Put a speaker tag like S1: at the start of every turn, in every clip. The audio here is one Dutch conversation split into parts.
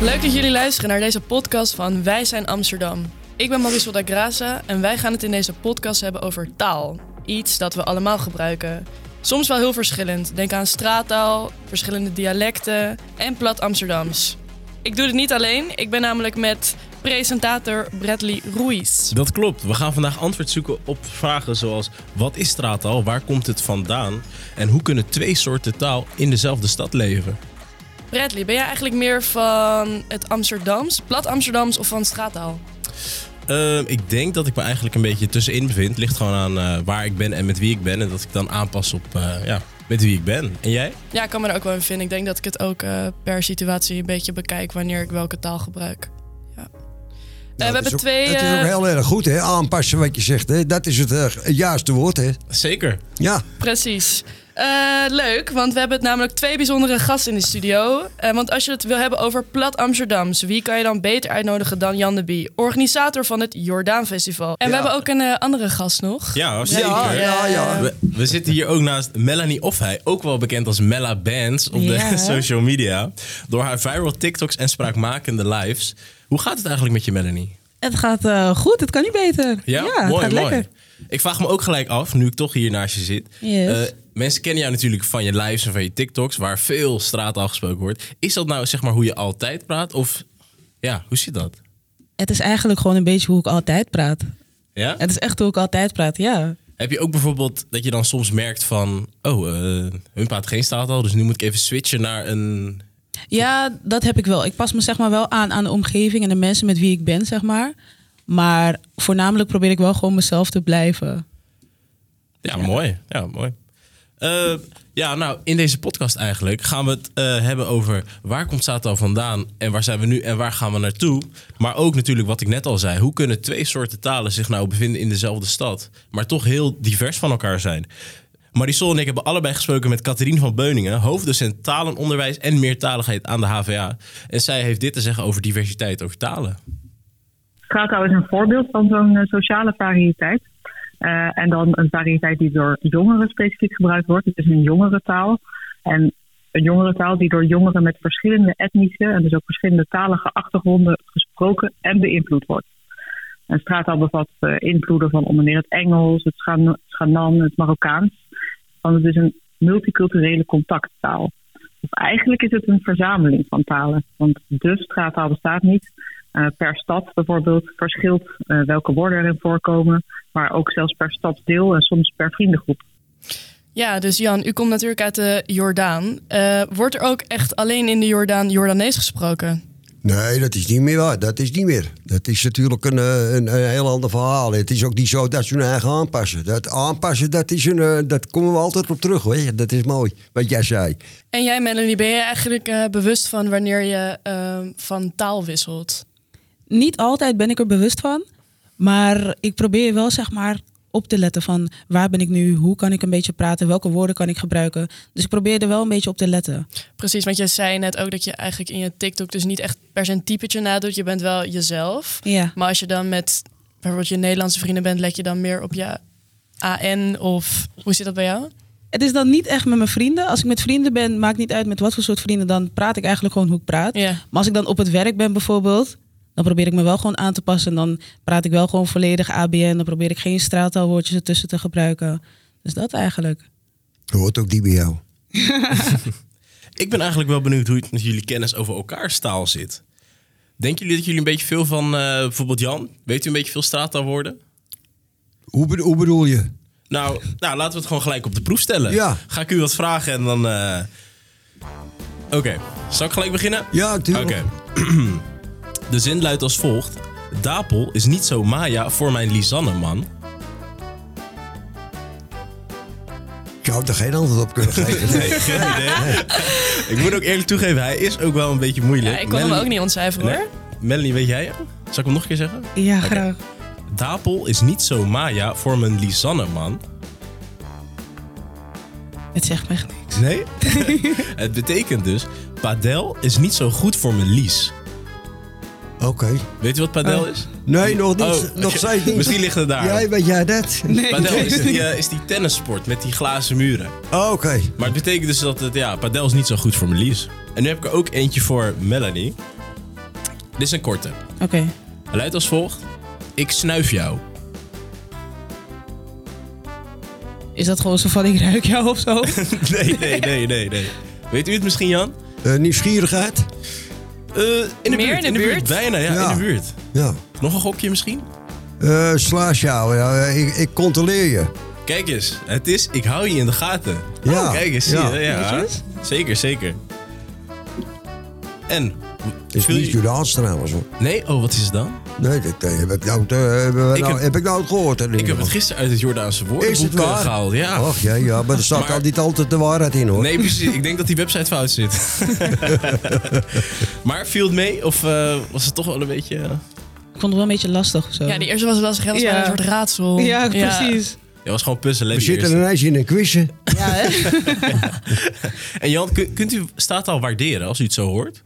S1: Leuk dat jullie luisteren naar deze podcast van Wij zijn Amsterdam. Ik ben Marisol da Graza en wij gaan het in deze podcast hebben over taal. Iets dat we allemaal gebruiken. Soms wel heel verschillend. Denk aan straattaal, verschillende dialecten en plat Amsterdams. Ik doe dit niet alleen. Ik ben namelijk met presentator Bradley Ruiz.
S2: Dat klopt. We gaan vandaag antwoord zoeken op vragen zoals: wat is straattaal? Waar komt het vandaan? En hoe kunnen twee soorten taal in dezelfde stad leven?
S1: Bradley, ben jij eigenlijk meer van het Amsterdams, plat Amsterdams of van straattaal?
S2: Ehm, ik denk dat ik me eigenlijk een beetje tussenin bevind. Ligt gewoon aan eh, waar ik ben en met wie ik ben. En dat ik dan aanpas op eh, ja, met wie ik ben. En jij?
S1: Ja, ik kan me er ook wel in vinden. Ik denk dat ik het ook eh, per situatie een beetje bekijk wanneer ik welke taal gebruik. Ja. Eh, we
S3: Nou,
S1: hebben
S3: het is ook-
S1: twee.
S3: Het is
S1: eh,
S3: ook heel erg goed, hè? Aanpassen wat je zegt, hè? Dat is het eh, juiste woord, hè?
S2: Zeker.
S3: Ja,
S1: Precies. Eh, leuk, want we hebben het namelijk twee bijzondere gasten in de studio. Eh, want als je het wil hebben over plat Amsterdams, wie kan je dan beter uitnodigen dan Jan de Bie, organisator van het Jordaan Festival? En we
S3: Ja.
S1: hebben ook een eh, andere gast nog.
S2: Ja,
S3: ja,
S2: zeker.
S3: ja, ja.
S2: We, we zitten hier ook naast Melanie Offhey, ook wel bekend als Mella Bands op de
S4: Ja.
S2: social media. Door haar viral TikToks en spraakmakende lives. Hoe gaat het eigenlijk met je, Melanie?
S4: Het gaat eh, goed, het kan niet beter.
S2: Ja,
S4: het
S2: mooi,
S4: gaat
S2: mooi.
S4: lekker.
S2: Ik vraag me ook gelijk af, nu ik toch hier naast je zit.
S4: Yes.
S2: Eh, mensen kennen jou natuurlijk van je lives en van je TikToks, waar veel straattaal gesproken wordt. Is dat nou zeg maar hoe je altijd praat? Of ja, hoe zit dat?
S4: Het is eigenlijk gewoon een beetje hoe ik altijd praat.
S2: Ja?
S4: Het is echt hoe ik altijd praat, ja.
S2: Heb je ook bijvoorbeeld dat je dan soms merkt van, oh, eh, hun praat geen straattaal, dus nu moet ik even switchen naar een...
S4: Ja, dat heb ik wel. Ik pas me zeg maar wel aan aan de omgeving en de mensen met wie ik ben, zeg maar. Maar voornamelijk probeer ik wel gewoon mezelf te blijven.
S2: Ja, mooi. Ja, mooi. Eh, ja, nou, in deze podcast eigenlijk gaan we het eh, hebben over waar komt Satan vandaan en waar zijn we nu en waar gaan we naartoe. Maar ook natuurlijk wat ik net al zei, hoe kunnen twee soorten talen zich nou bevinden in dezelfde stad, maar toch heel divers van elkaar zijn. Marisol en ik hebben allebei gesproken met Catherine van Beuningen, hoofddocent talenonderwijs en meertaligheid aan de HVA. En zij heeft dit te zeggen over diversiteit over talen.
S5: Straattaal is een voorbeeld van zo'n eh, sociale variëteit. Eh, en dan een variëteit die door jongeren specifiek gebruikt wordt. Het is een jongerentaal. En een jongerentaal die door jongeren met verschillende etnische en dus ook verschillende talige achtergronden gesproken en beïnvloed wordt. En straattaal bevat eh, invloeden van onder meer het Engels, het Schan- Schanan, het Marokkaans. Want het is een multiculturele contacttaal. Of eigenlijk is het een verzameling van talen. Want de straattaal bestaat niet. Eh, per stad bijvoorbeeld verschilt eh, welke woorden erin voorkomen. Maar ook zelfs per stadsdeel en soms per vriendengroep.
S1: Ja, dus Jan, u komt natuurlijk uit de Jordaan. Eh, wordt er ook echt alleen in de Jordaan Jordanees gesproken?
S3: Nee, dat is niet meer waar. Dat is niet meer. Dat is natuurlijk een, eh, een, een heel ander verhaal. Het is ook niet zo dat ze hun eigen aanpassen. Dat aanpassen, dat, is een, eh, dat komen we altijd op terug, weet je. Dat is mooi, wat jij zei.
S1: En jij, Melanie, ben je eigenlijk eh, bewust van wanneer je eh, van taal wisselt?
S4: Niet altijd ben ik er bewust van. Maar ik probeer wel zeg maar op te letten van waar ben ik nu, hoe kan ik een beetje praten, welke woorden kan ik gebruiken. Dus ik probeer er wel een beetje op te letten.
S1: Precies, want jij zei net ook dat je eigenlijk in je TikTok dus niet echt per se een typetje nadoet. Je bent wel jezelf.
S4: Ja.
S1: Maar als je dan met bijvoorbeeld je Nederlandse vrienden bent, let je dan meer op je AN of hoe zit dat bij jou?
S4: Het is dan niet echt met mijn vrienden. Als ik met vrienden ben, maakt niet uit met wat voor soort vrienden, dan praat ik eigenlijk gewoon hoe ik praat.
S1: Ja.
S4: Maar als ik dan op het werk ben bijvoorbeeld, dan probeer ik me wel gewoon aan te passen. En dan praat ik wel gewoon volledig ABN. Dan probeer ik geen straaltaalwoordjes ertussen te gebruiken. Dus dat eigenlijk.
S3: Dat hoort ook niet bij jou.
S2: Ik ben eigenlijk wel benieuwd hoe het met jullie kennis over elkaars taal zit. Denken jullie dat jullie een beetje veel van eh, bijvoorbeeld Jan? Weet u een beetje veel straattaalwoorden?
S3: Hoe, bedo- hoe bedoel je?
S2: Nou, nou, laten we het gewoon gelijk op de proef stellen.
S3: Ja.
S2: Ga ik u wat vragen en dan. eh, Oké, zal ik gelijk beginnen?
S3: Ja,
S2: Oké.
S3: natuurlijk.
S2: de zin luidt als volgt: Dapel is niet zo Maya voor mijn Lisanne, man.
S3: Ik zou er geen antwoord op kunnen geven.
S2: Nee, geen idee. ik moet ook eerlijk toegeven, hij is ook wel een beetje moeilijk.
S1: Ja, Ah, ik kon hem ook niet ontcijferen
S2: Nee?
S1: hoor.
S2: Melanie, weet jij hem? Zal ik hem nog een keer zeggen?
S4: Ja, graag.
S2: Dapel is niet zo Maya voor mijn Lisanne, man.
S4: Het zegt me echt niks.
S2: Nee? het betekent dus, padel is niet zo goed voor mijn Lies.
S3: Oké.
S2: Weet u wat padel is?
S3: Nee, nog niet.
S2: Oh,
S3: nog steeds niet.
S2: Misschien ligt het daar.
S3: Jij, weet jij dat?
S2: Padel is die, eh, is die tennissport met die glazen muren.
S3: Oké.
S2: Maar het betekent dus dat het, ja, padel is niet zo goed voor mijn Lies. En nu heb ik er ook eentje voor Melanie. Dit is een korte.
S4: Oké.
S2: Hij luidt als volgt. Ik snuif jou.
S4: Is dat gewoon zo van ik ruik jou of zo?
S2: Nee, nee, nee, nee, nee. Weet u het misschien, Jan?
S3: Eh, nieuwsgierigheid?
S2: Eh, in de
S1: Meer
S2: buurt.
S1: in de buurt?
S2: Bijna, ja,
S3: Ja.
S2: in de buurt.
S3: Ja.
S2: Nog een gokje misschien?
S3: Eh slaasjouwen, ja, eh, ik, ik controleer je.
S2: Kijk eens, het is Ik hou je in de gaten.
S3: Ja.
S2: Oh, kijk eens, zie
S3: Ja.
S2: je, ja. Zeker, zeker. En?
S3: Is
S2: viel je-
S3: niet Judaans trouwens hoor.
S2: Nee, oh, wat is het dan?
S3: Nee, dat eh, heb ik nou, eh, hebben we
S2: Ik
S3: nou,
S2: heb-
S3: heb ik nou gehoord. in
S2: Ik
S3: ieder
S2: heb het
S3: geval.
S2: gisteren uit het Jordaanse
S3: Is het
S2: woordenboek eh,
S3: waar?
S2: gehaald. Ja.
S3: Ach ja, ja, maar er staat
S2: Maar-
S3: al niet altijd de waarheid in hoor.
S2: Nee, precies. Ik denk dat die website fout zit. maar viel het mee? Of eh, was het toch wel een beetje... eh,
S4: Ik vond het wel een beetje lastig of zo.
S1: Ja, die eerste was lastig. hè? Dat was
S4: Ja.
S1: bijna een soort raadsel.
S4: Ja, precies.
S2: Ja, was gewoon puzzelen.
S3: We
S2: die
S3: zitten
S2: eerste.
S3: ineens in een quizje.
S4: Ja, hè?
S2: En Jan, kun- kunt u straattaal waarderen als u het zo hoort?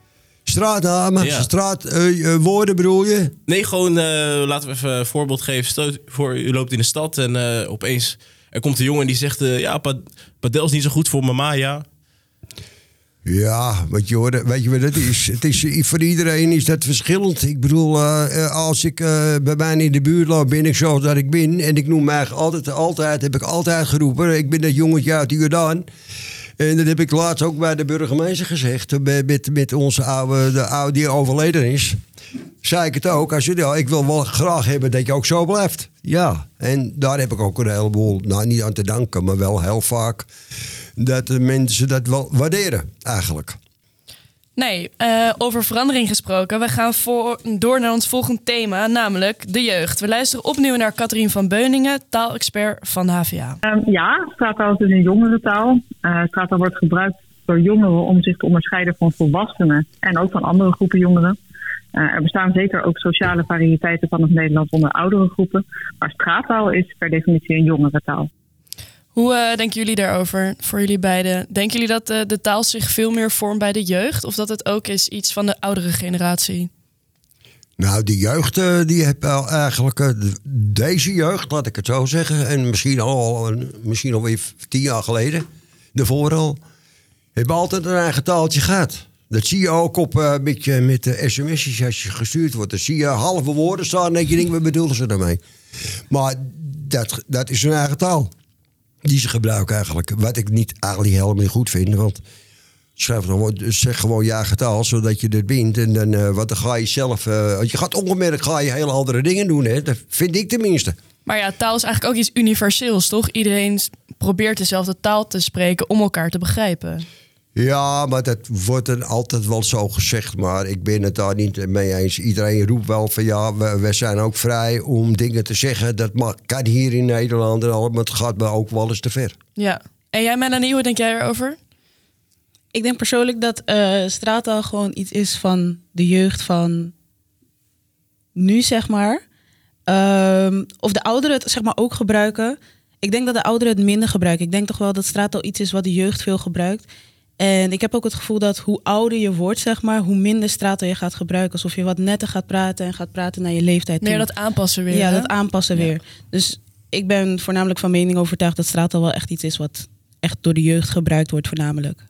S3: Straatnamen,
S2: Ja.
S3: straat, eh, eh, woorden bedoel je?
S2: Nee, gewoon eh, laten we even een voorbeeld geven. Stel je voor, u loopt in de stad en eh, opeens er komt een jongen en die zegt... eh, ja, pa- padel is niet zo goed voor mama, ja.
S3: Ja, wat je hoorde, weet je wat het is? Het is voor iedereen is dat verschillend. Ik bedoel, eh, eh, als ik eh, bij mij in de buurt loop, ben ik zoals dat ik ben. En ik noem mij altijd, altijd, heb ik altijd geroepen. Ik ben dat jongetje uit de Jordaan. En dat heb ik laatst ook bij de burgemeester gezegd. eh, Met, met, met onze oude, de oude die overleden is. Zei ik het ook. Als je, ja, ik wil wel graag hebben dat je ook zo blijft. Ja, en daar heb ik ook een heleboel, nou niet aan te danken, maar wel heel vaak. Dat de mensen dat wel waarderen, eigenlijk.
S1: Nee, eh, over verandering gesproken. We gaan voor, door naar ons volgend thema, namelijk de jeugd. We luisteren opnieuw naar Catherine van Beuningen, taalexpert van de HVA.
S5: Ehm, ja, straattaal is dus een jongerentaal. Eh straattaal wordt gebruikt door jongeren om zich te onderscheiden van volwassenen en ook van andere groepen jongeren. Eh, er bestaan zeker ook sociale variëteiten van het Nederlands onder oudere groepen, maar straattaal is per definitie een jongere
S1: Hoe eh, denken jullie daarover, voor jullie beiden? Denken jullie dat eh, de taal zich veel meer vormt bij de jeugd? Of dat het ook is iets van de oudere generatie?
S3: Nou, die jeugd, eh, die heb wel eigenlijk eh, d- deze jeugd, laat ik het zo zeggen, en misschien al een- misschien alweer v- tien jaar geleden, daarvoor al, hebben altijd een eigen taaltje gehad. Dat zie je ook op, eh, met, je- met de sms'jes als je gestuurd wordt. Dan zie je halve woorden staan en dat je denkt, wat bedoelen ze daarmee? Maar dat, dat is hun eigen taal. Die ze gebruiken eigenlijk. Wat ik niet, eigenlijk helemaal niet goed vind, want Schrijf dan, gewoon- dus zeg gewoon je eigen taal, zodat je dit bindt. En dan, eh, wat, dan ga je zelf... eh, je gaat ongemerkt ga je hele andere dingen doen, hè. Dat vind ik tenminste.
S1: Maar ja, taal is eigenlijk ook iets universeels, toch? Iedereen s- probeert dezelfde taal te spreken om elkaar te begrijpen.
S3: Ja, maar dat wordt dan altijd wel zo gezegd. Maar ik ben het daar niet mee eens. Iedereen roept wel van ja, we, we zijn ook vrij om dingen te zeggen. Dat mag, kan hier in Nederland en al, maar het gaat me ook wel eens te ver.
S1: Ja. En jij, Melanie, hoe denk jij erover?
S4: Ik denk persoonlijk dat eh straattaal gewoon iets is van de jeugd van nu, zeg maar. Ehm, of de ouderen het zeg maar, ook gebruiken. Ik denk dat de ouderen het minder gebruiken. Ik denk toch wel dat straattaal iets is wat de jeugd veel gebruikt. En ik heb ook het gevoel dat hoe ouder je wordt, zeg maar, hoe minder straattaal je gaat gebruiken. Alsof je wat netter gaat praten en gaat praten naar je leeftijd.
S1: Meer
S4: toe.
S1: dat aanpassen weer.
S4: ja,
S1: hè?
S4: dat aanpassen weer. Dus ik ben voornamelijk van mening overtuigd dat straattaal wel echt iets is wat echt door de jeugd gebruikt wordt, voornamelijk.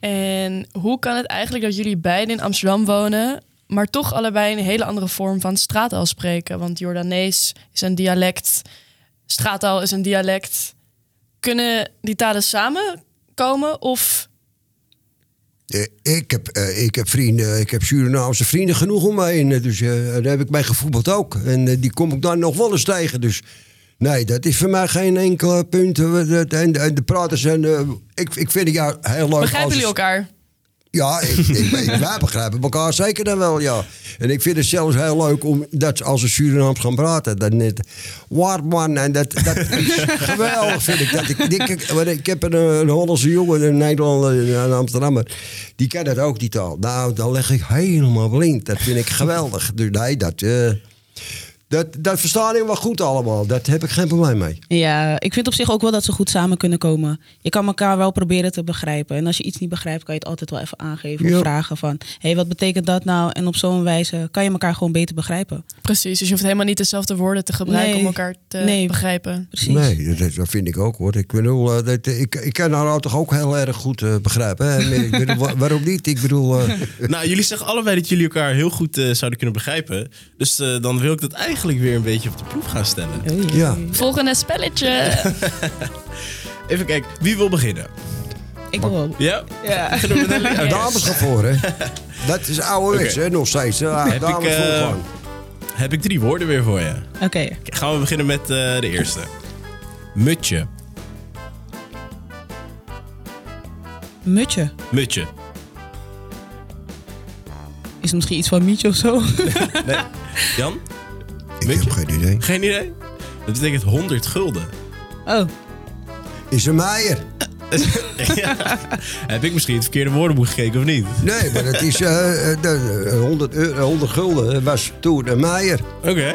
S1: En hoe kan het eigenlijk dat jullie beiden in Amsterdam wonen, maar toch allebei een hele andere vorm van straattaal spreken? Want Jordanees is een dialect, straattaal is een dialect. Kunnen die talen samenkomen of
S3: Eh, Ik heb, eh, ik heb vrienden, ik heb Surinaamse vrienden genoeg om mij heen. Dus eh, daar heb ik bij gevoetbald ook. En eh, die kom ik dan nog wel eens tegen. Dus nee, dat is voor mij geen enkel eh, punt. Eh, we- dat- En, en de praters zijn. eh, ik, ik vind het jou heel
S1: begrijpen
S3: leuk. als
S1: jullie
S3: het-
S1: elkaar?
S3: Ja, ik, ik, ik- wij begrijpen elkaar zeker dan wel, ja. En ik vind het zelfs heel leuk om dat ze als een Surinaams gaan praten. Dat net, waar man, en dat, dat is geweldig vind ik. Dat ik, ik, ik, want ik heb een, een Hollandse jongen, een Nederlander, een Amsterdammer. Die kan dat ook, die taal. Nou, dan leg ik helemaal blind. Dat vind ik geweldig. Dus nee, dat... eh, Dat, dat verstaan ik wel goed allemaal. Dat heb ik geen probleem mee.
S4: Ja, ik vind op zich ook wel dat ze goed samen kunnen komen. Je kan elkaar wel proberen te begrijpen. En als je iets niet begrijpt, kan je het altijd wel even aangeven.
S3: Ja.
S4: Of vragen van, hé, hey, wat betekent dat nou? En op zo'n wijze kan je elkaar gewoon beter begrijpen.
S1: Precies, dus je hoeft helemaal niet dezelfde woorden te gebruiken
S4: Nee.
S1: om elkaar te
S4: Nee.
S1: begrijpen.
S4: Precies.
S3: Nee, dat, dat vind ik ook hoor. Ik bedoel, eh, dat, ik, ik kan haar toch ook heel erg goed eh, begrijpen. Hè? Ik bedoel, wa- waarom niet? Ik bedoel, eh,
S2: Nou, jullie zeggen allebei dat jullie elkaar heel goed eh, zouden kunnen begrijpen. Dus eh, dan wil ik dat eigenlijk weer een beetje op de proef gaan stellen.
S4: Oei.
S3: ja.
S1: Volgende spelletje.
S2: Even kijken, wie wil beginnen?
S4: Ik wil wel.
S2: Ja?
S4: Ja.
S2: Beginnen we met Nelly? Oké.
S3: Dames gaan voor, hè? Dat is ouderwets,
S2: Oké.
S3: hè? Nog steeds. Ja,
S2: Heb
S3: dames
S2: ik,
S3: voor
S2: eh,
S3: gewoon.
S2: Heb ik drie woorden weer voor je. Oké,
S4: Oké,
S2: gaan we beginnen met eh, de eerste. Mutje.
S4: mutje.
S2: Mutje.
S4: Is het misschien iets van mietje of zo?
S2: Nee. Jan?
S3: Ik
S2: weet
S3: heb
S2: je-
S3: geen idee.
S2: Geen idee? Dat betekent 100 gulden.
S4: Oh,
S3: Is een meier?
S2: Heb ik misschien het verkeerde woordenboek gekeken of niet?
S3: Nee, maar dat is eh, eh, de- eh, 100, euro- eh, 100 gulden was toen een meier.
S2: Oké.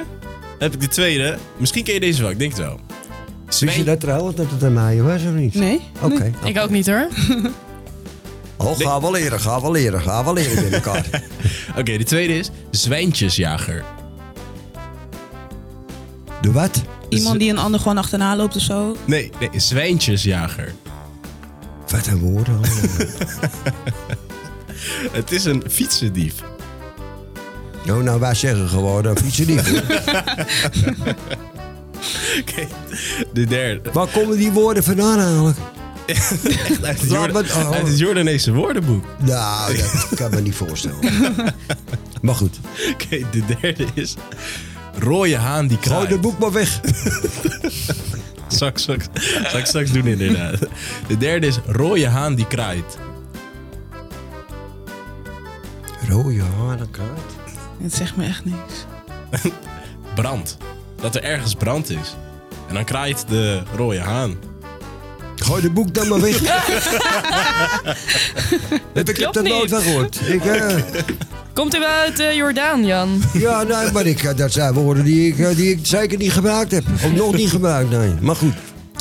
S2: Heb ik de tweede. Misschien ken je deze wel, ik denk het wel.
S3: Wist je
S2: Zwee-
S3: dat trouwens dat het een meier was of niet?
S4: nee.
S3: Oké.
S1: Ik ook niet hoor.
S3: Oh, ga wel leren, ga wel leren, ga wel leren met elkaar.
S2: Oké, de tweede is zwijntjesjager.
S3: De wat?
S4: Iemand die een ander gewoon achterna loopt of zo.
S2: Nee, nee, zwijntjesjager.
S3: Wat een woorden. allemaal.
S2: Het is een fietsendief.
S3: nou, nou, wij zeggen gewoon een fietsendief.
S2: Oké, de derde.
S3: Waar komen die woorden vandaan eigenlijk?
S2: Echt uit het, Jorda-
S3: Laat me- oh.
S2: uit het Jordaanese woordenboek.
S3: Nou, dat kan ik me niet voorstellen. Maar goed,
S2: Oké, de derde is... Rode haan die
S3: gooi
S2: kraait.
S3: dat boek maar weg.
S2: Zal ik straks, zal ik straks doen inderdaad. De derde is rode haan die kraait.
S3: Rode harenkaart.
S4: Het zegt me echt niks.
S2: Brand. Dat er ergens brand is. En dan kraait de rode haan.
S3: Gooi de boek dan maar weg. Heb ik heb
S1: klopt
S3: dat
S1: niet.
S3: nooit van gehoord. Ik, eh,
S1: Komt u wel uit eh, Jordaan, Jan?
S3: ja, nee, maar ik, eh, dat zijn woorden die ik, eh, die ik zeker niet gebruikt heb. Of nog niet gebruikt, nee. Maar goed,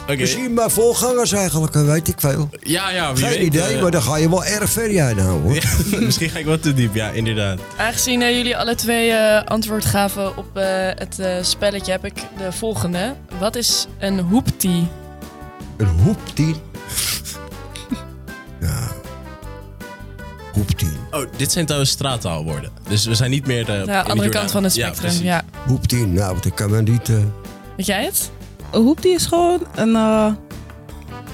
S2: Oké.
S3: misschien mijn voorgangers eigenlijk, eh, weet ik veel.
S2: Ja, ja, wie
S3: Geen
S2: weet,
S3: idee,
S2: eh,
S3: maar dan ga je wel erg ver jij nou hoor.
S2: ja, misschien ga ik wat te diep, ja, inderdaad.
S1: Aangezien eh, jullie alle twee eh, antwoord gaven op eh, het eh, spelletje, heb ik de volgende. Wat is een hoeptie?
S3: Een hoeptien. Ja. Hoeptien.
S2: Oh, dit zijn trouwens straattaalwoorden. Dus we zijn niet meer de...
S1: Nou, andere kant van het spectrum. Ja,
S3: Hoeptien, nou, dat kan men niet... eh,
S1: Weet jij het?
S4: Een hoep die is gewoon een, eh,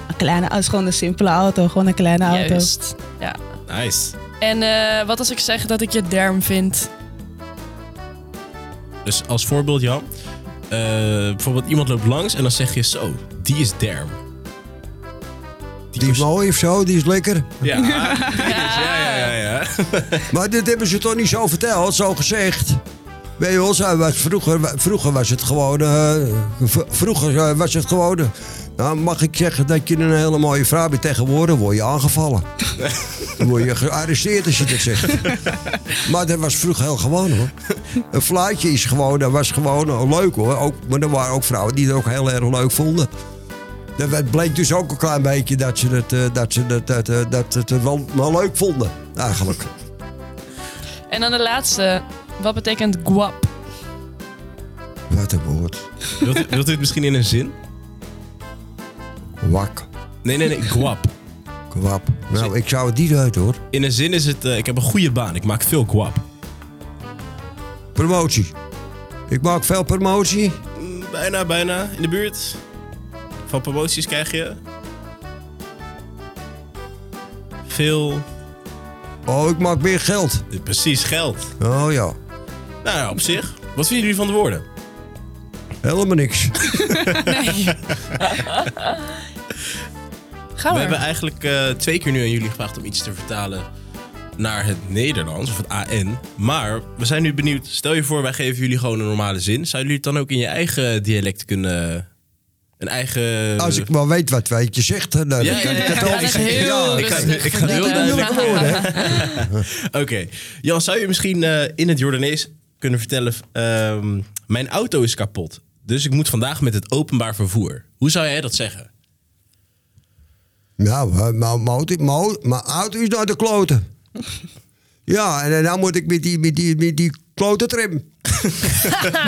S4: een kleine auto. is gewoon een simpele auto. Gewoon een kleine auto.
S1: Juist. Ja.
S2: Nice.
S1: En eh, wat als ik zeg dat ik je derm vind?
S2: Dus als voorbeeld, Jan. eh, bijvoorbeeld iemand loopt langs en dan zeg je zo, die is derm.
S3: Die is
S2: pers-
S3: mooi of zo, die is lekker.
S2: Ja, die is- ja, ja, ja. ja.
S3: Maar dit hebben ze toch niet zo verteld, zo gezegd. Weet je wel, zij was vroeger, vroeger was het gewoon. eh, v- vroeger eh, was het gewoon. eh, Nou, mag ik zeggen dat je een hele mooie vrouw bent tegenwoordig, word je aangevallen. Dan word je gearresteerd als je dat zegt. Maar dat was vroeger heel gewoon hoor. Een fluitje is gewoon, dat was gewoon eh, leuk hoor. Ook, maar er waren ook vrouwen die het ook heel erg leuk vonden. Dat- Het bleek dus ook een klein beetje dat ze het, eh, dat ze het, dat, eh, dat ze het wel, wel leuk vonden, eigenlijk.
S1: En dan de laatste. Wat betekent guap?
S3: Wat een woord.
S2: Wilt, u, wilt u het misschien in een zin?
S3: Wak.
S2: Nee, nee, nee, guap.
S3: Kwap. Nou, ik zou het niet uit hoor.
S2: In een zin is het, eh, ik heb een goede baan, ik maak veel guap.
S3: Promotie. Ik maak veel promotie.
S2: Mm, Bijna, bijna, in de buurt. Van promoties krijg je... Veel...
S3: Oh, ik maak meer geld.
S2: eh, Precies, geld.
S3: Oh ja.
S2: Nou ja, op zich. Wat vinden jullie van de woorden?
S3: Helemaal niks.
S1: Nee. Gaan we.
S2: We hebben eigenlijk eh, twee keer nu aan jullie gevraagd om iets te vertalen naar het Nederlands, of het AN. Maar we zijn nu benieuwd. Stel je voor, wij geven jullie gewoon een normale zin. Zou jullie het dan ook in je eigen dialect kunnen... Een eigen...
S3: Als ik maar weet wat weet je zegt, dan dan
S2: Ja,
S3: kan
S2: ja,
S3: ik
S2: ja,
S3: het
S2: ja,
S3: al
S2: dat is
S3: zeggen.
S1: heel
S3: Ja,
S2: ik ga,
S1: rustig.
S2: ik ga heel
S1: Ja,
S2: duidelijk
S1: ja.
S2: worden. Oké. Jan, zou je misschien eh, in het Jordanees kunnen vertellen ehm, Mijn auto is kapot, dus ik moet vandaag met het openbaar vervoer. Hoe zou jij dat zeggen?
S3: Nou, maar- maar mijn auto- mijn au- mijn auto is naar de kloten. Ja, en dan moet ik met die, met die, met die klote trim.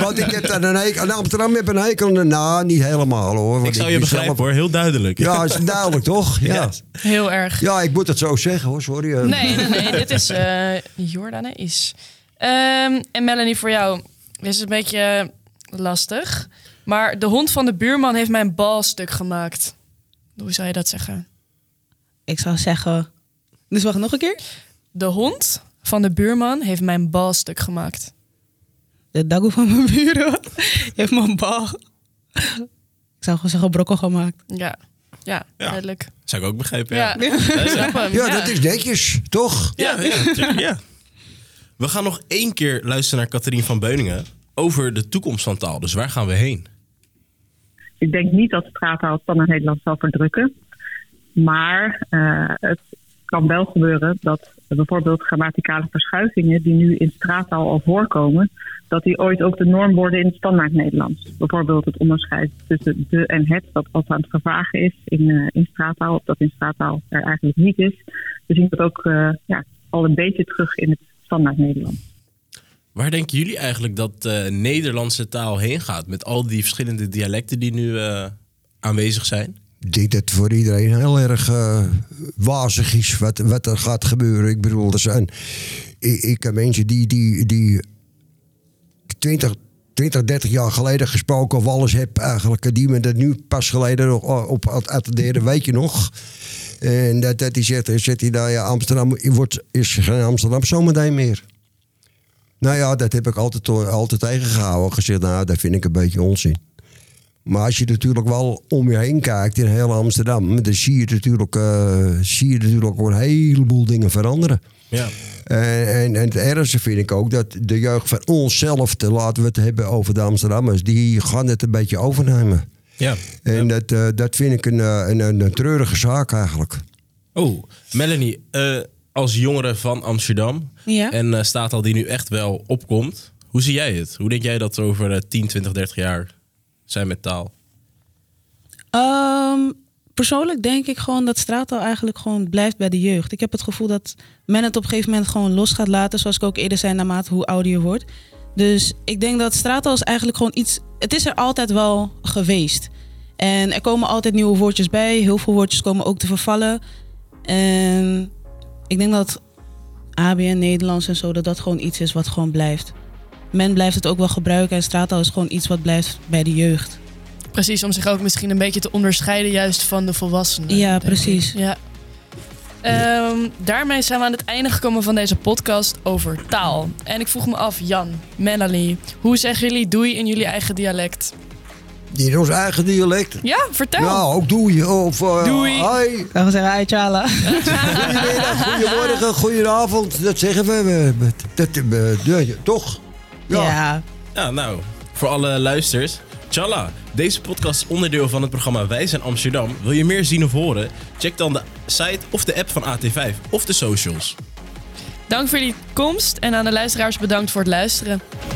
S3: Want ik heb dan een hekel. In Amsterdam heb ik een hekel. Nou, niet helemaal hoor. want
S2: Ik zou je
S3: ben
S2: begrijpen
S3: zelf-
S2: hoor, heel duidelijk.
S3: Ja, is duidelijk toch? Ja.
S2: Yes.
S1: Heel erg.
S3: ja, ik moet het zo zeggen hoor, sorry. eh.
S1: Nee, nee, nee. Dit is eh Jordane is. Ehm, en Melanie, voor jou is het een beetje lastig. Maar de hond van de buurman heeft mijn bal stuk gemaakt. Hoe zou je dat zeggen?
S4: Ik zou zeggen. Dus wacht nog een keer.
S1: De hond van de buurman heeft mijn bal stuk gemaakt.
S4: De dagoe van mijn buren heeft mijn bal. Ik zou gewoon zeggen brokkel gemaakt.
S1: Ja, ja,
S2: Ja.
S1: duidelijk.
S2: Zou ik ook begrijpen, ja.
S1: Ja, Snap hem,
S3: Ja, dat is netjes, toch?
S2: Ja, ja, natuurlijk, ja. We gaan nog één keer luisteren naar Catherine van Beuningen over de toekomst van taal. Dus waar gaan we heen?
S5: Ik denk niet dat straattaal het standaard Nederlands zal verdrukken. Maar eh, het kan wel gebeuren dat bijvoorbeeld grammaticale verschuivingen die nu in straattaal al voorkomen, dat die ooit ook de norm worden in het standaard Nederlands. Bijvoorbeeld het onderscheid tussen de en het, dat altijd aan het vervagen is in, eh in straattaal, dat in straattaal er eigenlijk niet is. We zien dat ook eh, ja, al een beetje terug in het standaard Nederlands.
S2: Waar denken jullie eigenlijk dat eh Nederlandse taal heen gaat? Met al die verschillende dialecten die nu eh, aanwezig zijn?
S3: Ik denk dat het voor iedereen heel erg eh, wazig is wat, wat er gaat gebeuren. Ik bedoel, er zijn. Ik, ik ken mensen die, die, die 20, 20, 30 jaar geleden gesproken of alles heb eigenlijk. eh, Die me dat nu pas geleden nog eh, op aan het attenderen, weet je nog. En dat, dat die zegt, eh, zegt hij, nou ja, Amsterdam wordt, is geen Amsterdam zometeen meer. Nou ja, dat heb ik altijd, eh, altijd tegengehouden. Gezegd, nou, dat vind ik een beetje onzin. Maar als je natuurlijk wel om je heen kijkt in heel Amsterdam, dan zie je natuurlijk, eh, zie je natuurlijk een heleboel dingen veranderen.
S2: Ja.
S3: En, en, en het ergste vind ik ook dat de jeugd van onszelf, te laten we het hebben over de Amsterdammers, die gaan het een beetje overnemen.
S2: ja.
S3: En dat, eh, dat vind ik een, eh, een, een, een treurige zaak eigenlijk.
S2: Oh, Melanie, eh, als jongere van Amsterdam
S4: Ja.
S2: en eh staat al die nu echt wel opkomt. Hoe zie jij het? Hoe denk jij dat er over eh, 10, 20, 30 jaar zijn met taal?
S4: Ehm, persoonlijk denk ik gewoon dat straattaal eigenlijk gewoon blijft bij de jeugd. Ik heb het gevoel dat men het op een gegeven moment gewoon los gaat laten. Zoals ik ook eerder zei, naarmate hoe ouder je wordt. Dus ik denk dat straattaal is eigenlijk gewoon iets... Het is er altijd wel geweest. En er komen altijd nieuwe woordjes bij. Heel veel woordjes komen ook te vervallen. En ik denk dat ABN, Nederlands en zo, dat dat gewoon iets is wat gewoon blijft. Men blijft het ook wel gebruiken en straattaal is gewoon iets wat blijft bij de jeugd.
S1: Precies, om zich ook misschien een beetje te onderscheiden juist van de volwassenen.
S4: Ja,
S1: denk ik.
S4: precies.
S1: Ja. Ehm, daarmee zijn we aan het einde gekomen van deze podcast over taal. En ik vroeg me af, Jan, Melanie, hoe zeggen jullie doei in jullie eigen dialect?
S3: In ons eigen dialect.
S1: Ja, vertel.
S3: Ja, ook doei. Of, eh,
S1: Doei.
S3: Hoi,
S4: Ik zou zeggen, uit Jala.
S3: goedemiddag, goedemorgen, goedenavond. Dat zeggen we. we- we- dat, we- ja, toch?
S4: Ja.
S2: Ja, nou, voor alle luisters. Tjalla, deze podcast is onderdeel van het programma Wij zijn Amsterdam. Wil je meer zien of horen? Check dan de site of de app van AT5 of de socials.
S1: Dank voor jullie komst en aan de luisteraars bedankt voor het luisteren.